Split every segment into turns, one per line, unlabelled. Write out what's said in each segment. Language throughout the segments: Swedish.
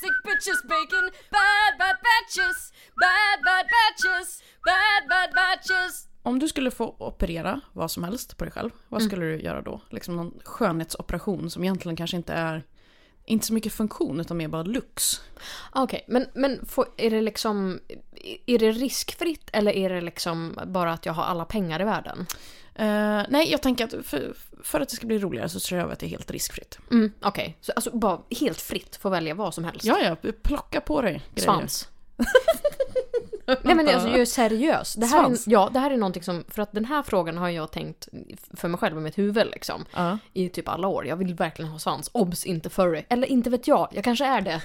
sandwiches, bacon, bad bad batches, bad bad batches, bad bad batches.
Om du skulle få operera vad som helst på dig själv, vad skulle du göra då? Liksom någon skönhetsoperation som egentligen kanske inte är, inte så mycket funktion utan mer bara lux.
Okej, men, men får, är det liksom... Är det riskfritt eller är det liksom bara att jag har alla pengar i världen?
Eh, nej, jag tänker att för, för att det ska bli roligare så tror jag att det är helt riskfritt.
Mm, Okej, så alltså bara helt fritt få välja vad som helst?
Ja, ja, plocka på dig grejer.
Svans. Nej men alltså jag är seriös. Det här
Svans.
Är, ja, det här är någonting som, för att den här frågan har jag tänkt för mig själv i mitt huvud liksom.
Ja.
I typ alla år. Jag vill verkligen ha svans. Obs, inte furry. Eller inte vet jag, jag kanske är det.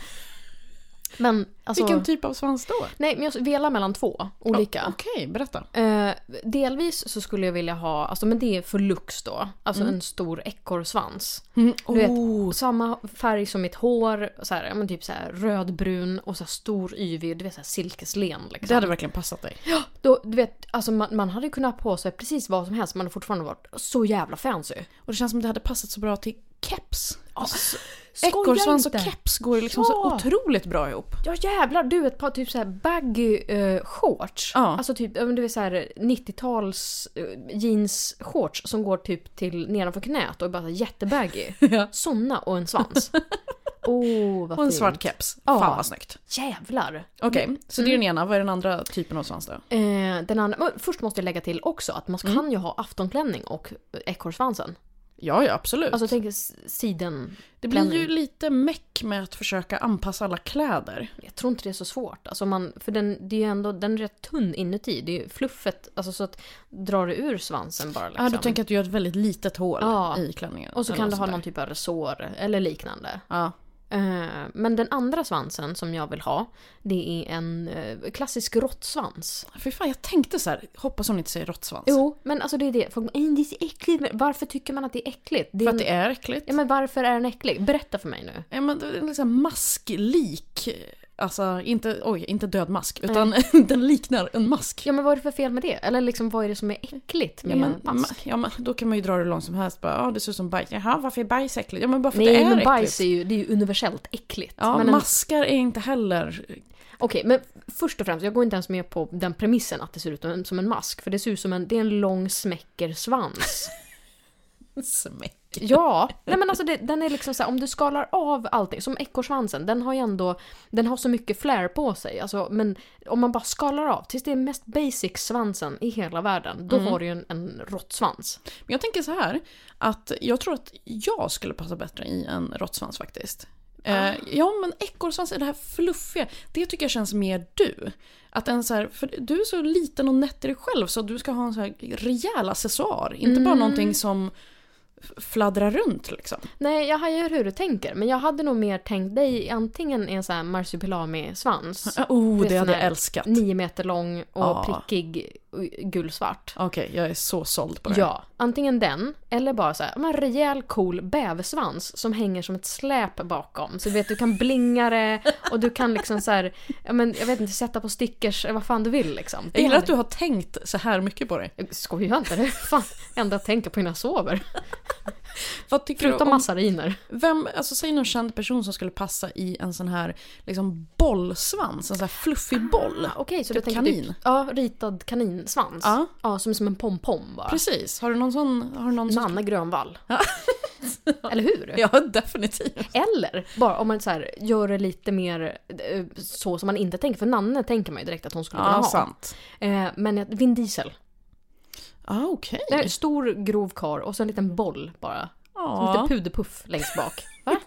Men alltså...
Vilken typ av svans då?
Nej men jag velar mellan två olika.
Okej, berätta.
Eh, delvis så skulle jag vilja ha, alltså men det är för lux då. Alltså
Mm.
en stor ekorrsvans.
Du
vet-
Oh.
Samma färg som mitt hår, så här, ja, men typ så här rödbrun och så här stor yvig, du vet så här silkeslen liksom.
det hade verkligen passat dig.
Då, du vet, alltså man, man hade ju kunnat ha på sig precis vad som helst man hade fortfarande varit så jävla fancy.
Och det känns som det hade passat så bra till keps. Alltså,
skoja
Ekorrsvans och
inte.
keps går ju liksom så
Ja.
otroligt bra ihop.
Ja jävlar, du ett par typ så här baggy eh, shorts.
Ja.
Alltså typ, ja, men du vet så här 90-tals eh, jeans shorts som går typ till nedanför knät och är bara så här jättebaggy.
Ja.
Såna och en svans. oh, vad
Och en
fint.
svart keps.
Ja.
Fan vad snyggt.
Jävlar.
Okej, så det är den ena. Vad är den andra typen av svans då?
Eh, den andra, men först måste jag lägga till också att
Mm.
man kan ju ha aftonklänning och ekorrsvansen.
Ja, ja absolut.
Alltså tänk s- siden...
det blir ju
klänning.
lite meck med att försöka anpassa alla kläder.
Jag tror inte det är så svårt. Alltså man, för den, det är ju ändå, den är rätt tunn inuti. Det är ju fluffet, alltså så att drar det ur svansen bara liksom.
Ja, du tänker att du gör ett väldigt litet hål
Ja.
i klänningen.
Och så
eller
kan du
något
ha
sånt
någon
där.
typ av resår eller liknande.
Ja.
Eh, Men den andra svansen som jag vill ha, det är en eh, klassisk råttsvans.
Fy fan, jag tänkte så här. Hoppas hon inte säger råttsvans.
Jo, men alltså det är det. Folk bara, "Ej, det är så äckligt. Men varför tycker man att det är äckligt? Det är
För
en...
att det är äckligt.
Ja, men varför är den äcklig? Berätta för mig nu.
Ja men det är liksom masklik. Alltså inte, oj, inte död mask utan den liknar en mask.
Ja, men vad är det för fel med det? Eller liksom, vad är det som är äckligt med
Ja men,
mask?
ma- ja men då kan man ju dra det hur långt som helst. Bara, ah, det ser ut som bajs. Jaha varför är bajs äckligt? Ja men bara för att det
Nej,
är
men bajs är
äckligt.
ju, det är ju universellt äckligt.
Ja
men en-
maskar är inte heller...
Okej, men först och främst, jag går inte ens med på den premissen att det ser ut som en- som en mask. För det ser ut som en, det är en lång smäcker svans.
Smäck.
Ja, nej men alltså det, den är liksom så här, om du skalar av allting, som ekorrsvansen, den har ju ändå, den har så mycket flair på sig, alltså, men om man bara skalar av tills det är mest basic svansen i hela världen, då
Mm.
har du ju en, en råttsvans.
Men jag tänker så här. Att jag tror att jag skulle passa bättre i en råttsvans faktiskt. Eh, ja men ekorrsvans är det här fluffiga. Det tycker jag känns mer du. Att en så här, för du är så liten och nätt i dig själv så du ska ha en så här rejäl accessoar. Inte bara någonting som f- fladdrar runt liksom.
Nej, jag hajar hur du tänker, men jag hade nog mer tänkt dig antingen i en sån här marsupilami-svans,
Oh,
Det
det
är
hade
sån
jag
här
älskat.
nio meter lång och
Ja.
prickig och gulsvart.
Okej, jag är så såld på det.
Ja, antingen den eller bara så här, men rejäl cool bäversvans som hänger som ett släp bakom. Så du vet, du kan blinga det och du kan liksom så här, ja men jag vet inte, sätta på stickers eller vad fan du vill liksom.
Jag gillar att du har tänkt så här mycket på det.
Skojar inte, det är fan det enda jag tänker på innan jag sover.
Vad tycker du
Förutom
om,
massariner.
vem, alltså säg någon känd person som skulle passa i en sån här liksom bollsvans, en sån här fluffig boll.
Okej, så
Typ
du tänker
kanin.
typ, ja, ritad kaninsvans.
Ja.
som är som en pompom bara.
Precis, har du någon sån? Har du någon
Som
sån?
Anna Grönvall. Eller hur?
Ja, definitivt.
Eller bara om man så här, gör det lite mer eh, så som man inte tänker. För Nanne tänker man ju direkt att hon skulle kunna
Ja,
ha.
sant.
Eh, men ett- Vin Diesel.
Ah, okej.
Det är en stor grov kar och så en liten boll bara. Som
Ja,
Lite puderpuff längst bak. Va?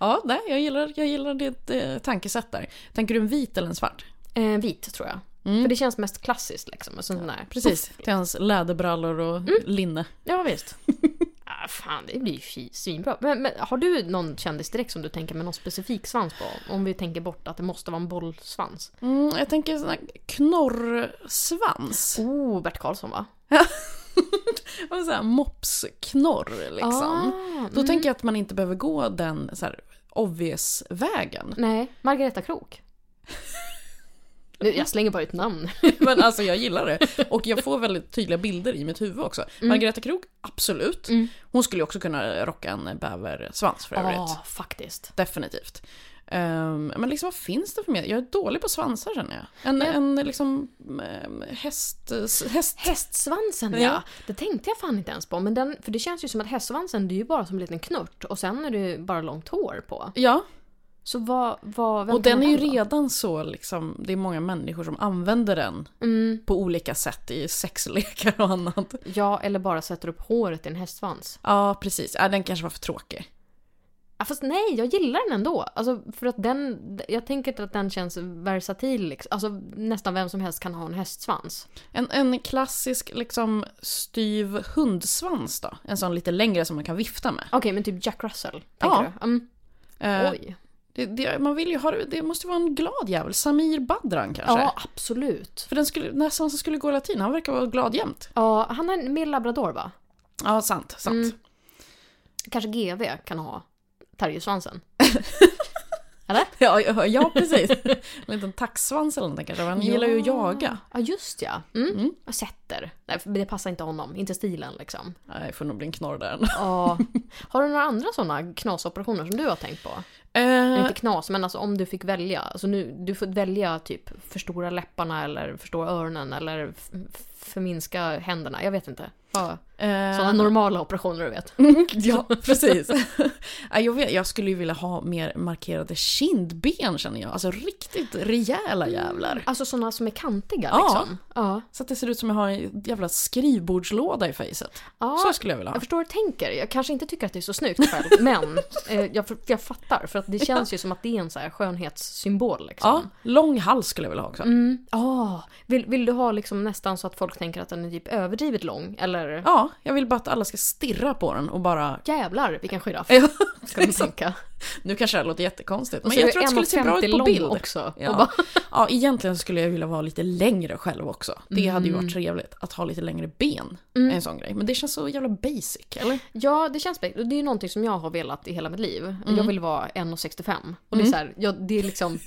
ja nej, jag, gillar, jag gillar ditt eh, tankesätt där. Tänker du en vit eller en svart?
Eh, vit tror jag. För det känns mest klassiskt liksom. Och sån där.
Precis, till hans läderbrallor och linne.
Ja visst. ah, fan, det blir ju fi- svinbra. Men, men har du någon kändis direkt som du tänker med någon specifik svans på? Om vi tänker bort att det måste vara en bollsvans.
Mm, jag tänker sån här knorrsvans.
Oh, Bert Karlsson va?
Och så här mopsknorr liksom.
Ah,
Då tänker jag att man inte behöver gå den så här obvious vägen.
nej, Margareta Krok. Nu, Jag slänger bara ut namn.
Men alltså jag gillar det. Och jag får väldigt tydliga bilder i mitt huvud också.
Mm.
Margareta Krog, absolut. Hon skulle ju också kunna rocka en bäversvans för övrigt.
Ja, faktiskt.
Definitivt. Ehm, men liksom vad finns det för mer? Jag är dålig på svansar känner jag. En, en liksom ehm, häst... häst.
Hästsvansen ja.
Ja.
det tänkte jag fan inte ens på. Men den, för det känns ju som att hästsvansen det är ju bara som en liten knört och sen är det ju bara långt hår på.
Ja,
Så vad, vad vem
och den är ju
kan det vara?
redan så liksom, det är många människor som använder den
Mm,
på olika sätt i sexlekar och annat.
ja, eller bara sätter upp håret i en hästsvans.
Ja, precis. Ja, den kanske var för tråkig.
Ja, fast nej, jag gillar den ändå. Alltså, för att den, jag tänker att den känns versatil. Liksom. Alltså, nästan vem som helst kan ha en hästsvans.
En, en klassisk liksom styv hundsvans då? En sån lite längre som man kan vifta med.
Okej, men typ Jack Russell,
Ja.
tänker du? Mm,
Eh,
oj.
det, det, man vill ju ha, det måste ju vara en glad jävel. Samir Badran kanske?
Ja, absolut.
För den, skulle, den här svansen skulle gå latin, han verkar vara glad jämt.
Ja, han är mer labrador va?
Ja, sant, sant.
Mm. Kanske GV kan ha terriersvansen.
Ja, ja, ja, precis. En liten taxsvans eller någonting kanske, men han gillar ju att jaga.
Ja, just ja. Mm.
Mm.
Och sätter. Nej, för det passar inte honom. Inte stilen liksom.
Nej, det får nog bli en knorr där.
Ja. har du några andra sådana knasoperationer som du har tänkt på?
Eh,
Inte knas, men alltså om du fick välja. Alltså nu, du får välja typ förstora läpparna eller förstora öronen eller f- f- förminska händerna. Jag vet inte. Ja.
eh, Mm.
Sådana normala operationer du vet.
Ja, precis. Ja, jag, vet, jag skulle ju vilja ha mer markerade kindben känner jag. Alltså riktigt rejäla jävlar.
Alltså sådana som är kantiga
Ja.
liksom. Ja.
Så att det ser ut som jag har en jävla skrivbordslåda i facet.
ja.
Så skulle jag vilja ha.
Jag förstår hur du tänker. Jag kanske inte tycker att det är så snyggt själv, men eh, jag, för- jag fattar. För att det känns ju som att det är en så här skönhetssymbol.
Ja,
Liksom.
lång hals skulle jag vilja ha också.
Mm. Ah, vill, vill du ha liksom nästan så att folk tänker att den är typ överdrivet lång? Eller
Ja, jag vill bara att alla ska stirra på den och bara...
jävlar vilken giraff
Ja,
ska man tänka.
nu kanske det här låter jättekonstigt,
Och
men
så är
jag tror att det skulle se bra
1,50
ut på
lång
bild.
också.
Ja.
Och bara,
ja, egentligen skulle jag vilja vara lite längre själv också. Det hade ju varit
Mm.
trevligt att ha lite längre ben. En sån grej. Men det känns så jävla basic, eller?
ja, det känns bättre. Det är ju någonting som jag har velat i hela mitt liv.
Mm.
Jag vill vara 1,65. Och det är så här, jag, det är liksom,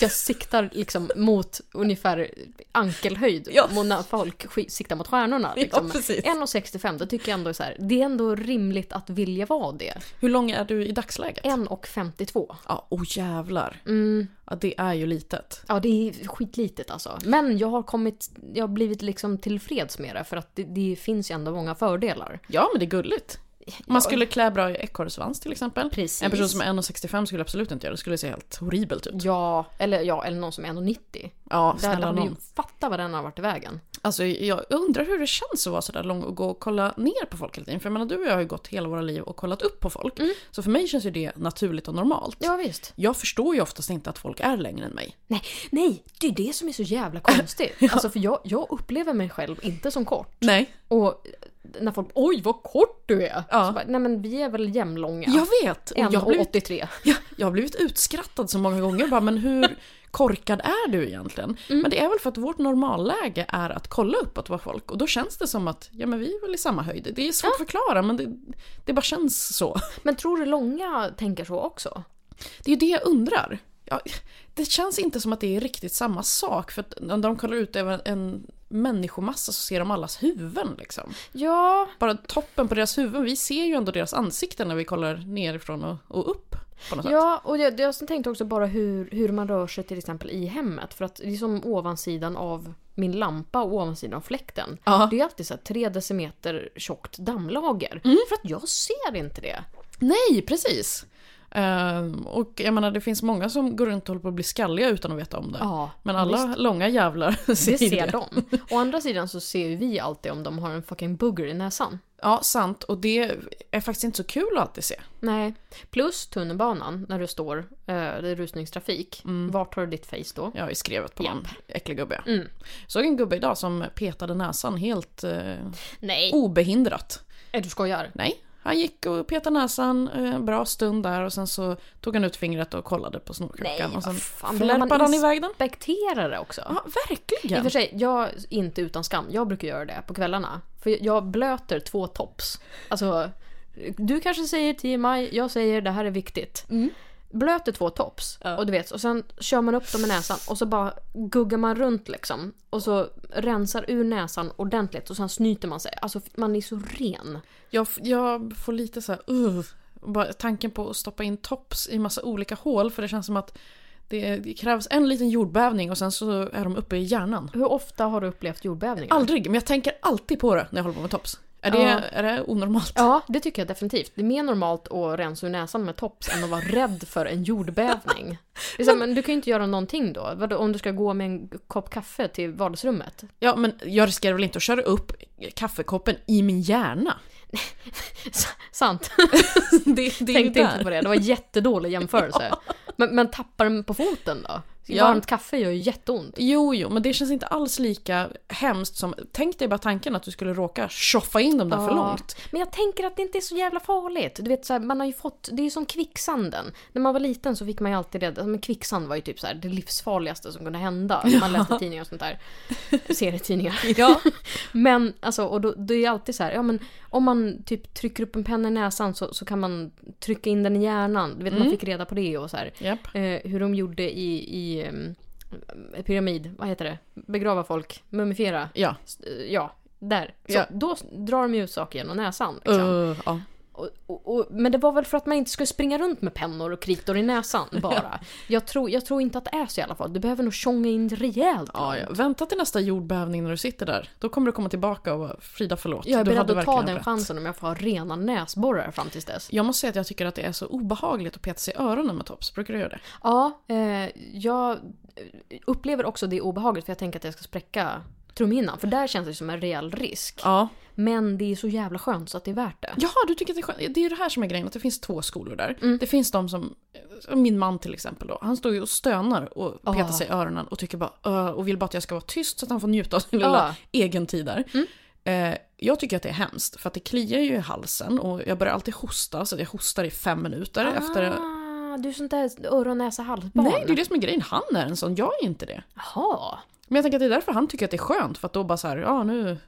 jag siktar liksom mot ungefär ankelhöjd.
Ja.
Mot när folk sk- siktar mot stjärnorna. Liksom.
precis.
1,65, det tycker jag ändå är så här, det är ändå rimligt att vilja vara det.
Hur lång är du i dagsläget?
1,52.
Ja, oh jävlar.
Mm.
Ja, det är ju litet.
Ja, det är skitlitet alltså. Men jag har kommit, jag har blivit liksom tillfreds med det för att det, det finns ju ändå många fördelar.
Ja, men det är gulligt. Om Man skulle klä bra i ekorrsvans till exempel.
Precis.
En person som är 1,65 skulle absolut inte göra det. Det skulle se helt horribelt ut.
Ja, eller ja, eller någon som är 1,90.
Ja,
Där
snälla
hade vi ju
någon.
fattat vad den har varit i vägen.
Alltså, jag undrar hur det känns att vara sådär lång och gå och kolla ner på folk hela tiden. För jag menar, du och jag har ju gått hela våra liv och kollat upp på folk. Så för mig känns ju det naturligt och normalt.
Ja, visst.
Jag förstår ju oftast inte att folk är längre än mig.
Nej, nej, det är det som är så jävla konstigt. Alltså för jag, jag upplever mig själv inte som kort.
Nej.
Och när folk oj vad kort du är!
Ja.
Så bara, nej men vi är väl jämnlånga.
Jag vet! Och jag, har blivit,
1,83.
jag, jag har blivit utskrattad så många gånger. Bara, men hur korkad är du egentligen? Men det är väl för att vårt normalläge är att kolla uppåt på folk. Och då känns det som att ja, men vi är väl i samma höjd. Det är svårt att förklara men det, det bara känns så.
Men tror du långa tänker så också?
Det är ju det jag undrar. Ja, det känns inte som att det är riktigt samma sak. För att när de kollar ut över en människomassa så ser de allas huvuden. Liksom.
Ja,
Bara toppen på deras huvuden. Vi ser ju ändå deras ansikten när vi kollar nerifrån och, och upp. På något sätt.
ja och jag, jag tänkte också bara hur, hur man rör sig till exempel i hemmet. För att det är som ovansidan av min lampa och ovansidan av fläkten.
Ja.
Det är alltid så här tre decimeter tjockt dammlager. För att jag ser inte det.
Nej, precis. Ehm, och jag menar det finns många som går runt och håller på att bli skalliga utan att veta om det.
Ja,
Men alla långa jävlar ser
Det
ju
ser de. Å andra sidan så ser ju vi alltid om de har en fucking bugger i näsan.
Ja, sant. Och det är faktiskt inte så kul att alltid se.
Nej. Plus tunnelbanan när du står, eh, det är rusningstrafik. Vart har du ditt face då?
Jag har ju skrevet på någon äcklig gubbe.
Mm.
Såg en gubbe idag som petade näsan helt eh,
Nej!
obehindrat.
Är du skojar?
Nej, han gick och petade näsan eh, en bra stund där och sen så tog han ut fingret och kollade på snorkukan
Nej,
och sen
vad fan, men man
flärpade han
ins-
iväg den.
Respektera det också.
Ja,
I och för
verkligen.
sig, jag är inte utan skam. Jag brukar göra det på kvällarna. För jag blöter två tops. Alltså, du kanske säger 10 maj, jag säger det här är viktigt. blöter två tops
Ja.
och du vet, och sen kör man upp dem i näsan och så bara guggar man runt liksom. Och så rensar ur näsan ordentligt och sen snyter man sig. Alltså man är så ren.
Jag, f- jag får lite så här, uh, bara tanken på att stoppa in tops i massa olika hål för det känns som att det, det krävs en liten jordbävning och sen så är de uppe i hjärnan.
Hur ofta har du upplevt jordbävningar?
Aldrig, men jag tänker alltid på det när jag håller på med tops. Är, det,
Ja.
är det onormalt?
Ja, det tycker jag definitivt. Det är mer normalt att rensa ur näsan med tops än att vara rädd för en jordbävning. Det är så här, men du kan ju inte göra någonting då. Vadå, om du ska gå med en kopp kaffe till vardagsrummet.
Ja, men jag riskerar väl inte att köra upp kaffekoppen i min hjärna?
S- sant.
Det, det är ju
Tänkte
där.
inte på det. Det var en jättedålig jämförelse. Men, men tappar den på foten då?
Ja.
Varmt kaffe gör ju jätteont.
Jo, jo, men det känns inte alls lika hemskt som... Tänk dig bara tanken att du skulle råka tjoffa in dem där för
Ja.
långt.
Men jag tänker att det inte är så jävla farligt. Du vet, så här, man har ju fått, det är ju som kvicksanden. När man var liten så fick man ju alltid det. Men kvicksand var ju typ så här, det livsfarligaste som kunde hända. Man läste tidningar och sånt där. Serietidningar.
Ja.
Men alltså, och då, då är det alltid så här, ja men om man typ trycker upp en penna i näsan så, så kan man trycka in den i hjärnan. Du vet,
Mm.
man fick reda på det och så här.
Japp.
Eh, hur de gjorde i, i ehm, pyramid, vad heter det? Begrava folk, mumifiera.
Ja.
S- eh, Ja, där. Så
Ja.
Då s- drar de ju ut saker genom näsan. Liksom.
Uh, ja.
Och, och, och, men det var väl för att man inte skulle springa runt med pennor och kritor i näsan bara. jag, tror, jag tror inte att det är så i alla fall. Du behöver nog tjonga in rejält.
Ja, ja. Vänta till nästa jordbävning när du sitter där. Då kommer du komma tillbaka och bara, Frida förlåt.
Jag
du
är beredd
hade
att ta
verkligen
den
rätt."
chansen om jag får ha rena näsborrar fram tills dess.
Jag måste säga att jag tycker att det är så obehagligt att peta sig i öronen med tops. Brukar du göra det?
Ja, eh, jag eh, upplever också det obehaget för jag tänker att jag ska spräcka trumhinnan. För där känns det som en reell risk.
Ja.
Men det är så jävla skönt så att det är värt det.
Jaha, du tycker att det är skönt. Det är ju det här som är grejen, att det finns två skolor där.
Mm.
Det finns de som, som min man till exempel då, han står ju och stönar och petar
Ah.
sig i öronen och tycker bara "Öh", och vill bara att jag ska vara tyst så att han får njuta av sin lilla
Ah.
egen tid där. Eh, jag tycker att det är hemskt för att det kliar ju i halsen och jag börjar alltid hosta så att jag hostar i fem minuter efter.
Ah, du är sånt där öron, näsa, halsbarn.
Nej, det är ju det som är grejen. Han är en sån, jag är inte det.
Jaha.
Men jag tänker att det är därför han tycker att det är skönt för att då bara så här, ja nu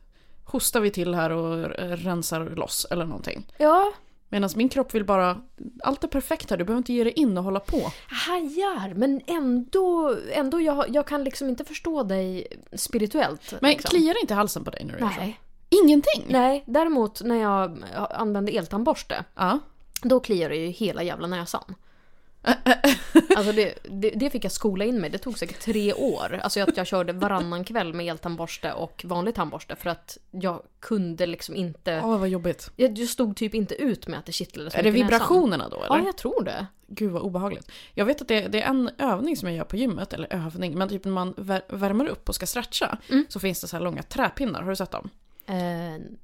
hostar vi till här och eh, rensar loss eller någonting.
Ja,
Medan min kropp vill bara, allt är perfekt här, du behöver inte ge dig in och hålla på.
hajar. Men ändå, ändå jag, jag kan liksom inte förstå dig spirituellt.
Men
liksom.
kliar det inte i halsen på dig när du liksom? Mm. gör så?
Nej.
Ingenting?
Nej, däremot när jag använde eltandborste,
Ja.
då kliar det ju hela jävla näsan. Alltså det, det, det fick jag skola in mig, det tog säkert tre år. Alltså att jag körde varannan kväll med eltandborste och vanlig tandborste för att jag kunde liksom inte...
Åh vad jobbigt.
Jag, jag stod typ inte ut med att det kittlade så
Är det
mycket i näsan.
vibrationerna då eller?
Ja, jag tror det.
Gud vad obehagligt. Jag vet att det, det är en övning som jag gör på gymmet, eller övning, men typ när man vär- värmer upp och ska stretcha
Mm.
så finns det så här långa träpinnar, har du sett dem?
Eh,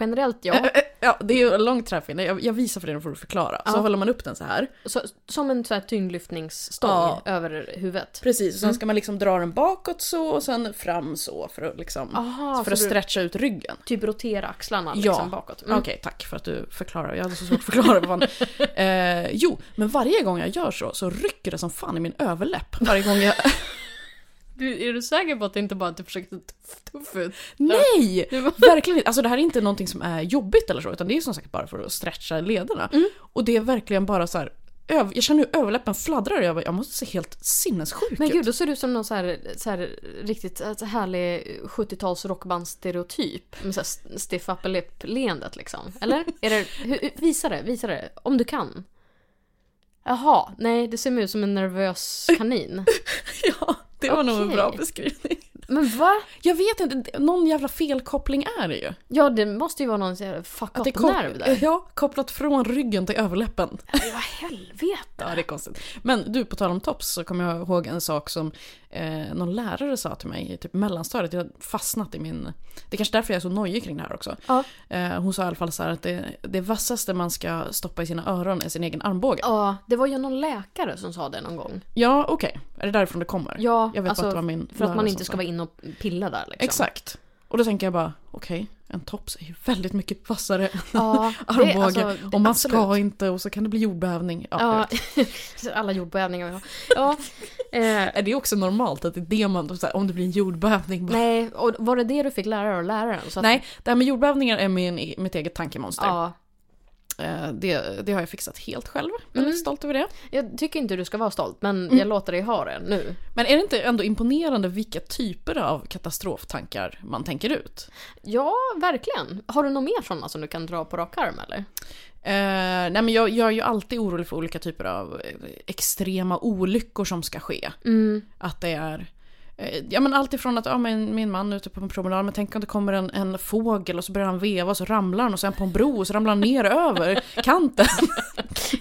generellt ja.
Eh, Ja, det är ju en lång träpinne, jag, jag visar för dig, då får du förklara. Så
Ja.
håller man upp den så här.
Så, som en så här tyngdlyftningsstång
Ja.
över huvudet.
Precis, och sen ska man liksom dra den bakåt så och sen fram så för att liksom...
Aha,
för att
så du
stretcha ut ryggen.
typ rotera axlarna
Ja.
liksom bakåt. Mm.
Okej, tack för att du förklarar. Jag hade så svårt att förklara. Vad fan. eh, jo, men varje gång jag gör så så rycker det som fan i min överläpp. Varje gång jag...
Du, är du säker på att det inte bara att du försökte tuff, tuff ut?
Nej!
Det var-
Verkligen inte. Alltså det här är inte någonting som är jobbigt eller så, utan det är som sagt bara för att stretcha lederna. Och det är verkligen bara så här... Öv... Jag känner hur överläppen fladdrar. Jag, bara, jag måste se helt sinnessjuk
Men
ut.
gud, då ser du ut som någon så här, så här riktigt eh, så härlig 70-tals rockbandsstereotyp. Med så här stiff upper lip-leendet liksom. Eller? Är det, hur- hur- visa det, visa det. Om du kan. Jaha, nej det ser ut som en nervös kanin.
Ja, det var nog en
Okej.
bra beskrivning.
Men va?
Jag vet inte, någon jävla felkoppling är det ju.
Ja det måste ju vara någon så här fuck
Att det kom-
nerv där.
Ja, kopplat från ryggen till överläppen.
Vad helvete.
Ja, det är konstigt. Men du, på tal om tops så kommer jag ihåg en sak som eh, någon lärare sa till mig i typ mellanstadiet. Jag har fastnat i min... Det är kanske därför jag är så nojig kring det här också.
Ja.
Eh, hon sa i alla fall så här att det, det vassaste man ska stoppa i sina öron är sin egen armbåge.
Ja, det var ju någon läkare som sa det någon gång.
Ja, okej. Är det därifrån det kommer?
Ja,
jag vet
alltså,
bara att det var min
För att man
lärare
inte
som
ska
sa.
vara inne och pilla där liksom.
Exakt. Och då tänker jag bara, okej, en tops är ju väldigt mycket vassare än
Ja,
armbåge.
det- alltså, det-
och man
absolut.
ska inte och så kan det bli jordbävning. Ja, jag
Ja,
vet.
alla jordbävningar vi har. Ja, eh,
Är det också normalt att det är det man, så här, om det blir en jordbävning? Bara,
nej, och var det det du fick lära dig av läraren? Så att,
nej, det här med jordbävningar är min, mitt eget tankemonster.
Ja,
Eh, det, det har jag fixat helt själv.
Mm.
Väldigt stolt över det.
Jag tycker inte du ska vara stolt, men
Mm.
jag låter dig ha det nu.
Men är det inte ändå imponerande vilka typer av katastroftankar man tänker ut?
Ja, verkligen. Har du något mer sådana som du kan dra på rak arm eller?
Eh, nej men jag, jag är ju alltid orolig för olika typer av eh, extrema olyckor som ska ske.
Mm.
Att det är eh, Ja men allt ifrån att ja, men min man är ute på en promenad men tänk om det kommer en, en fågel och så börjar han veva och så ramlar han och sen på en bro och så ramlar han ner över kanten.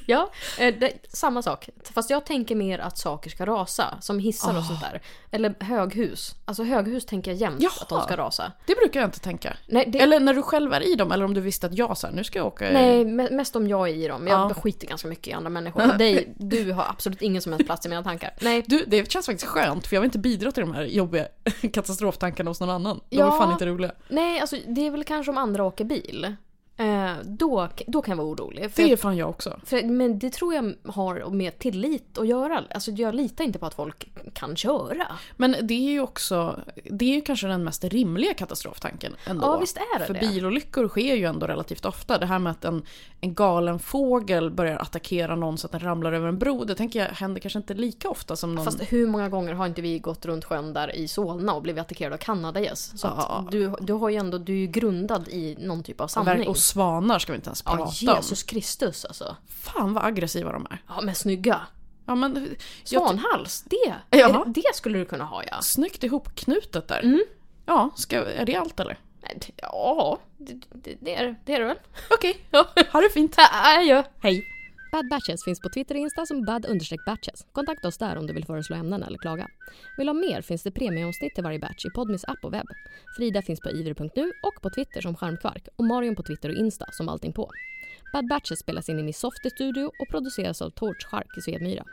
Ja, eh, det, samma sak. Fast jag tänker mer att saker ska rasa, som hissar
Ah.
och sånt där. Eller höghus. Alltså höghus tänker jag jämt
Jaha.
att de ska rasa.
Det brukar jag inte tänka.
Nej, det,
Eller när du själv är i dem eller om du visste att jag så här, nu ska jag åka.
nej me- mest om jag är i dem. Jag
Eh, Ja.
skiter ganska mycket i andra människor. Dig, du har absolut ingen som helst plats i mina tankar. Nej,
Du, det känns faktiskt skönt för jag vill inte bidra till de här jobbiga katastroftankarna hos någon annan. De är
Ja.
fan inte roliga.
nej alltså det är väl kanske om andra åker bil. Eh, då, då kan jag vara orolig. För
Det är fan jag också.
För, men det tror jag har med tillit att göra. Alltså jag litar inte på att folk kan köra.
Men det är ju också, det är ju kanske den mest rimliga katastroftanken ändå.
Ja, visst är det
För
det.
bilolyckor sker ju ändå relativt ofta. Det här med att en, en galen fågel börjar attackera någon så att den ramlar över en bro, det tänker jag händer kanske inte lika ofta som någon...
Fast hur många gånger har inte vi gått runt sjön där i Solna och blivit attackerade av kanadagäss? Så
Ja.
att du, du har ju ändå, du är ju grundad i någon typ av sanning.
och svanar ska vi inte ens prata
ja, Jesus Kristus alltså.
om. Fan vad aggressiva de är.
Ja men snygga.
Ja, men, jag,
Svanhals, det!
Jaha.
Är det, det skulle du kunna ha ja.
snyggt ihopknutet där.
Mm.
Ja, ska, är det allt eller?
Nej, det- Ja, det, det, det, är, det är det väl?
Okej, ha det fint.
Adjö!
Hej.
Bad Batches finns på Twitter och Insta som bad-batches. Kontakta oss där om du vill föreslå ämnen eller klaga. Vill du ha mer finns det premieomsnitt till varje batch i Podmis app och webb. Frida finns på iver.nu och på Twitter som Charmkvark och Marion på Twitter och Insta som allting på. Bad Batches spelas in i Miss Softy Studio och produceras av Torch Shark i Svedmyra.